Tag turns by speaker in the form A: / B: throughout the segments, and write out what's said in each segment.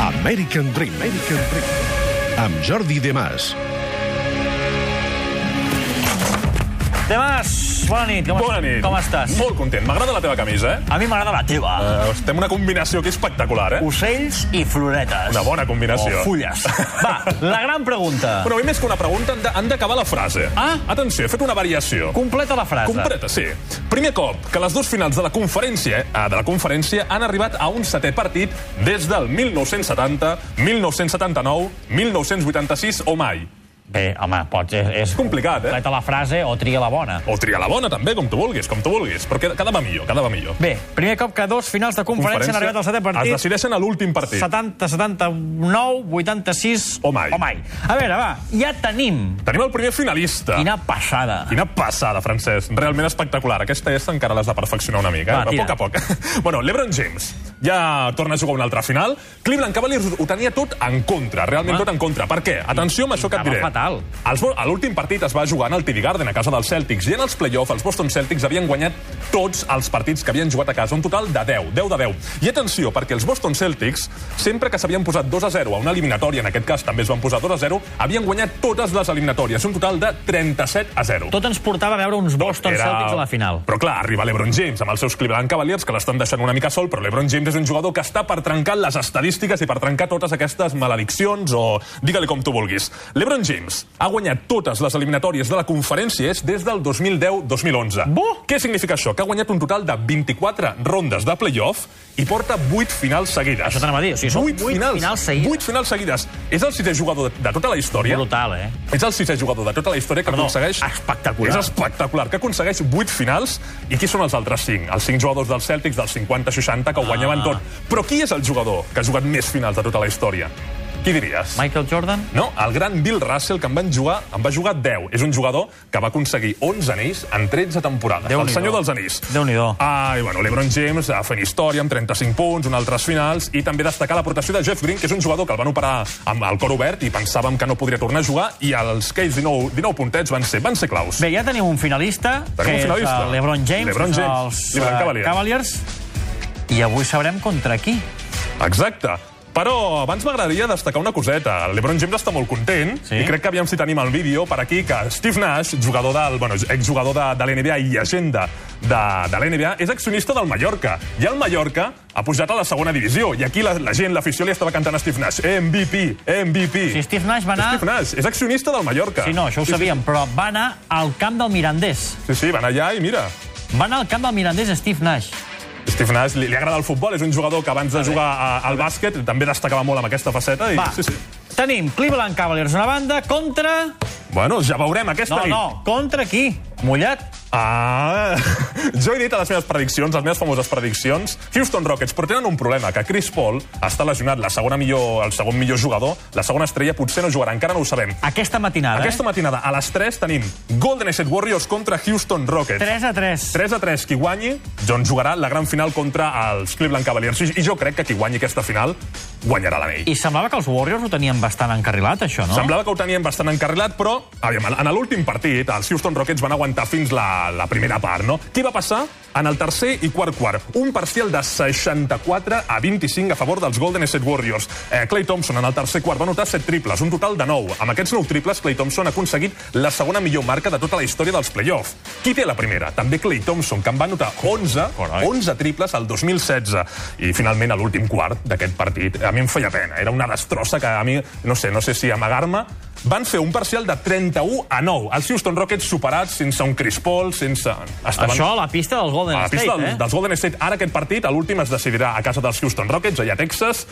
A: American Dream. American Dream. Amb Jordi Demàs.
B: Demas, bona nit. Com,
C: Bona nit.
B: Com estàs?
C: Molt content. M'agrada la teva camisa, eh?
B: A mi m'agrada la teva.
C: Uh, estem una combinació que és espectacular, eh?
B: Ocells i floretes.
C: Una bona
B: O
C: combinació.
B: fulles. Va, la gran pregunta.
C: Però avui més que una pregunta han de- han d'acabar la frase.
B: Ah.
C: Atenció, he fet una variació.
B: Completa la frase.
C: Completa, sí. Primer cop que les dues finals de la conferència eh, de la conferència han arribat a un setè partit des del 1970, 1979, 1986 o mai.
B: Bé, home, pots... És, és
C: Complicat, eh?
B: Completa la frase o tria la bona.
C: O tria la bona, també, com tu vulguis, com tu vulguis. Però cada- cada va millor, cada va millor.
B: Bé, primer cop que dos finals de conferència, han arribat al setè
C: Es
B: partit.
C: decideixen a l'últim partit.
B: 70, 79, 86...
C: O mai.
B: O mai. A veure, va, ja tenim.
C: Tenim el primer finalista.
B: Quina passada.
C: Quina passada, Francesc. Realment espectacular. Aquesta és encara l'has de perfeccionar una mica,
B: Va,
C: eh?
B: tira.
C: a poc a poc. bueno, l'Ebron James ja torna a jugar una altra final. Cleveland Cavaliers ho tenia tot en contra, realment
B: Ah.
C: tot en contra. Per què? Atenció amb això que et
B: Estava
C: diré.
B: fatal.
C: Els bo- A l'últim partit es va jugar en el TD Garden a casa dels Celtics i en els play-off els Boston Celtics havien guanyat tots els partits que havien jugat a casa, un total de 10, 10 de 10. I atenció, perquè els Boston Celtics, sempre que s'havien posat 2 a 0 a una eliminatòria, en aquest cas també es van posar 2 a 0, havien guanyat totes les eliminatòries, un total de 37 a 0.
B: Tot ens portava a veure uns Boston Celtics a la final.
C: Però clar, arriba l'Ebron James amb els seus Cleveland Cavaliers, que l'estan deixant una mica sol, però l'Ebron James és un jugador que està per trencar les estadístiques i per trencar totes aquestes malediccions o digue-li com tu vulguis. L'Ebron James ha guanyat totes les eliminatòries de la conferència és des del 2010-2011.
B: Buh!
C: Què significa això? Que ha guanyat un total de 24 rondes de playoff i porta 8 finals seguides.
B: Això t'anava a dir, o sigui, són vuit
C: finals,
B: finals seguides.
C: 8 finals seguides. És el sisè jugador de, de tota la història
B: Brutal, eh?
C: és el sisè jugador de tota la història que
B: Perdó,
C: aconsegueix...
B: espectacular.
C: És espectacular, que aconsegueix 8 finals. I qui són els altres 5? Els 5 jugadors dels Celtics dels 50-60 que ho guanyaven tot. Però qui és el jugador que ha jugat més finals de tota la història? Qui diries?
B: Michael Jordan?
C: No, el gran Bill Russell, que en, van jugar, en va jugar 10. És un jugador que va aconseguir 11 anells en 13 temporades.
B: Déu-n'hi-do.
C: el senyor dels anells.
B: Déu-n'hi-do.
C: Ah, i bueno, l'Ebron James ah, fent història amb 35 punts, un altres finals, i també destacar l'aportació de Jeff Green, que és un jugador que el van operar amb el cor obert i pensàvem que no podria tornar a jugar, i els aquells 19, 19 puntets van ser, van ser claus.
B: Bé, ja tenim un finalista,
C: Tenim
B: que
C: un finalista.
B: és el LeBron James,
C: LeBron
B: que són
C: James,
B: els
C: LeBron
B: eh,
C: Cavaliers.
B: Cavaliers. I avui sabrem contra qui.
C: Exacte. Però abans m'agradaria destacar una coseta. El LeBron James està molt content
B: Sí?
C: sí? i crec que aviam si tenim el vídeo per aquí que Steve Nash, jugador del, bueno, exjugador de, de l'NBA i agenda de, de l'NBA, és accionista del Mallorca. I el Mallorca ha pujat a la segona divisió. I aquí la, la gent, l'afició, li estava cantant a Steve Nash. MVP, MVP.
B: Si Steve Nash va anar...
C: Steve Nash és accionista del Mallorca.
B: Sí, no, això ho sabíem, però va anar al camp del Mirandés.
C: Sí, sí, van allà i mira,
B: Va anar al camp del Mirandés Steve Nash.
C: Steve Nash li, li agrada el futbol, és un jugador que abans de jugar a, al bàsquet també destacava molt amb aquesta faceta. I,
B: Va,
C: Sí, sí.
B: tenim Cleveland Cavaliers una banda contra...
C: Bueno, ja veurem aquesta
B: No,
C: nit.
B: no, contra qui? Mollat?
C: Ah, jo he dit a les meves prediccions, les meves famoses prediccions, Houston Rockets, però tenen un problema, que Chris Paul està lesionat, la segona millor, el segon millor jugador, la segona estrella potser no jugarà, encara no ho sabem.
B: Aquesta matinada, eh?
C: Aquesta matinada, a les 3, tenim Golden State Warriors contra Houston
B: eh?
C: Rockets.
B: 3 a 3.
C: 3 a 3, qui guanyi, doncs jugarà la gran final contra els Cleveland Cavaliers. I, i jo crec que qui guanyi aquesta final guanyarà l'anell.
B: I semblava que els Warriors ho tenien bastant encarrilat, això, no?
C: Semblava que ho tenien bastant encarrilat, però aviam, en l'últim partit els Houston Rockets van aguantar fins la, la primera part, no? Què va passar? En el tercer i quart quart, un parcial de 64 a 25 a favor dels Golden State Warriors. Eh, Clay Thompson en el tercer quart va anotar 7 triples, un total de 9. Amb aquests 9 triples, Clay Thompson ha aconseguit la segona millor marca de tota la història dels play-off. Qui té la primera? També Clay Thompson, que en va anotar 11,
B: Carai.
C: 11 triples al 2016. I finalment, a l'últim quart d'aquest partit, a mi em feia pena. Era una destrossa que a mi, no sé, no sé si amagar-me. Van fer un parcial de 31 a 9. Els Houston Rockets superats, sense un Chris Paul, sense... Estaven...
B: Això a la pista dels Golden
C: A la
B: State,
C: pista del,
B: eh?
C: dels Golden State, ara aquest partit, a l'últim, es decidirà a casa dels Houston Rockets, allà a Texas.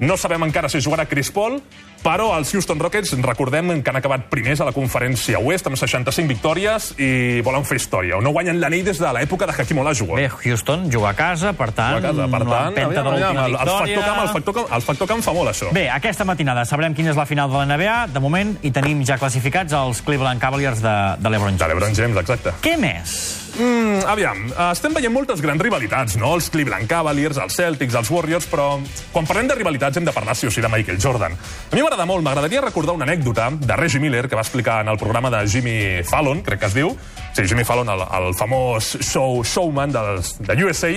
C: No sabem encara si jugarà Chris Paul, però els Houston Rockets, recordem que han acabat primers a la conferència oest amb 65 victòries i volen fer història. No guanyen l'anell des de l'època de Hakim Olajuwon.
B: Bé, Houston juga a casa, per tant...
C: a casa. Per tant,
B: l'empenta de
C: aviam,
B: l'última
C: aviam, el, el, factor
B: victòria.
C: camp, el, factor camp, el factor camp fa molt, això.
B: Bé, aquesta matinada sabrem quina és la final de la NBA. De moment, hi tenim ja classificats els Cleveland Cavaliers de, de l'Ebron
C: De
B: James.
C: l'Ebron James, exacte.
B: Què més?
C: Mm, aviam, eh, estem veient moltes grans rivalitats, no? Els Cleveland Cavaliers, els Celtics, els Warriors, però quan parlem de rivalitats hem de parlar sí o sí de Michael Jordan. A mi m'agrada molt, m'agradaria recordar una anècdota de Reggie Miller que va explicar en el programa de Jimmy Fallon, crec que es diu. Sí, Jimmy Fallon, el, el famós show, showman dels, de USA.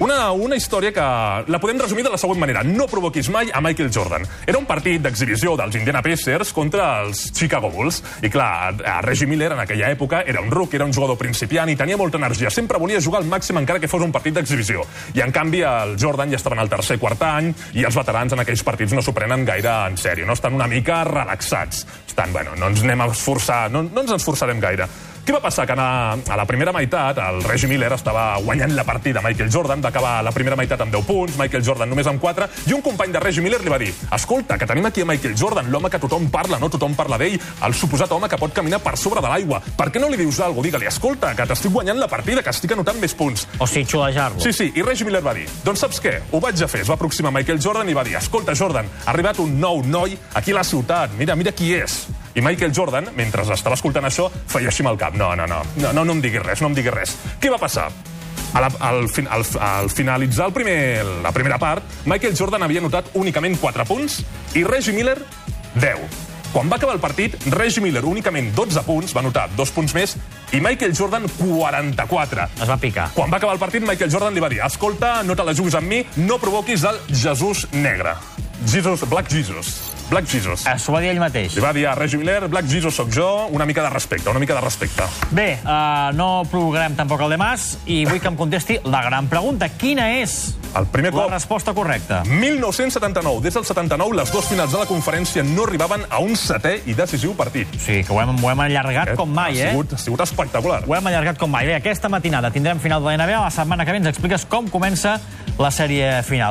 C: Una, una història que la podem resumir de la següent manera. No provoquis mai a Michael Jordan. Era un partit d'exhibició dels Indiana Pacers contra els Chicago Bulls. I clar, a- a Reggie Miller en aquella època era un ruc, era un jugador principiant i tenia molta energia. Sempre volia jugar al màxim encara que fos un partit d'exhibició. I en canvi el Jordan ja estava en el tercer quart any i els veterans en aquells partits no s'ho prenen gaire en sèrio. No? Estan una mica relaxats. Estan, bueno, no ens anem a esforçar, no, no ens esforçarem gaire. Què va passar? Que en a, a la primera meitat el Reggie Miller estava guanyant la partida a Michael Jordan, va acabar la primera meitat amb 10 punts, Michael Jordan només amb 4, i un company de Reggie Miller li va dir «Escolta, que tenim aquí a Michael Jordan, l'home que tothom parla, no tothom parla d'ell, el suposat home que pot caminar per sobre de l'aigua. Per què no li dius alguna cosa? Digue-li, escolta, que t'estic guanyant la partida, que estic anotant més punts.
B: O sigui, xulejar-lo.
C: Sí, sí, i Reggie Miller va dir, doncs saps què? Ho vaig a fer. Es va aproximar Michael Jordan i va dir, escolta, Jordan, ha arribat un nou noi aquí a la ciutat, mira, mira qui és. I Michael Jordan, mentre estava escoltant això, feia així amb el cap. No, no, no, no, no, no em diguis res, no em diguis res. Què va passar? A la, al, fin, al, al finalitzar el primer, la primera part, Michael Jordan havia notat únicament 4 punts i Reggie Miller 10. Quan va acabar el partit, Reggie Miller únicament 12 punts, va notar 2 punts més, i Michael Jordan 44.
B: Es va picar.
C: Quan va acabar el partit, Michael Jordan li va dir «Escolta, no te la juguis amb mi, no provoquis el Jesús negre». Jesus, Black Jesus. Black Jesus.
B: Eh, S'ho va dir ell mateix.
C: Li va dir a Reggie Miller, Black Jesus sóc jo, una mica de respecte, una mica de respecte.
B: Bé, uh, no provocarem tampoc el de Mas i vull que em contesti la gran pregunta. Quina és
C: El primer
B: la
C: cop...
B: resposta correcta?
C: 1979. Des del 79, les dues finals de la conferència no arribaven a un setè i decisiu partit.
B: O sigui, que ho hem, ho hem allargat com mai,
C: ha
B: eh?
C: sigut, Ha sigut espectacular.
B: Ho hem allargat com mai. Bé, aquesta matinada tindrem final de la NBA. La setmana que ve ens expliques com comença la sèrie final.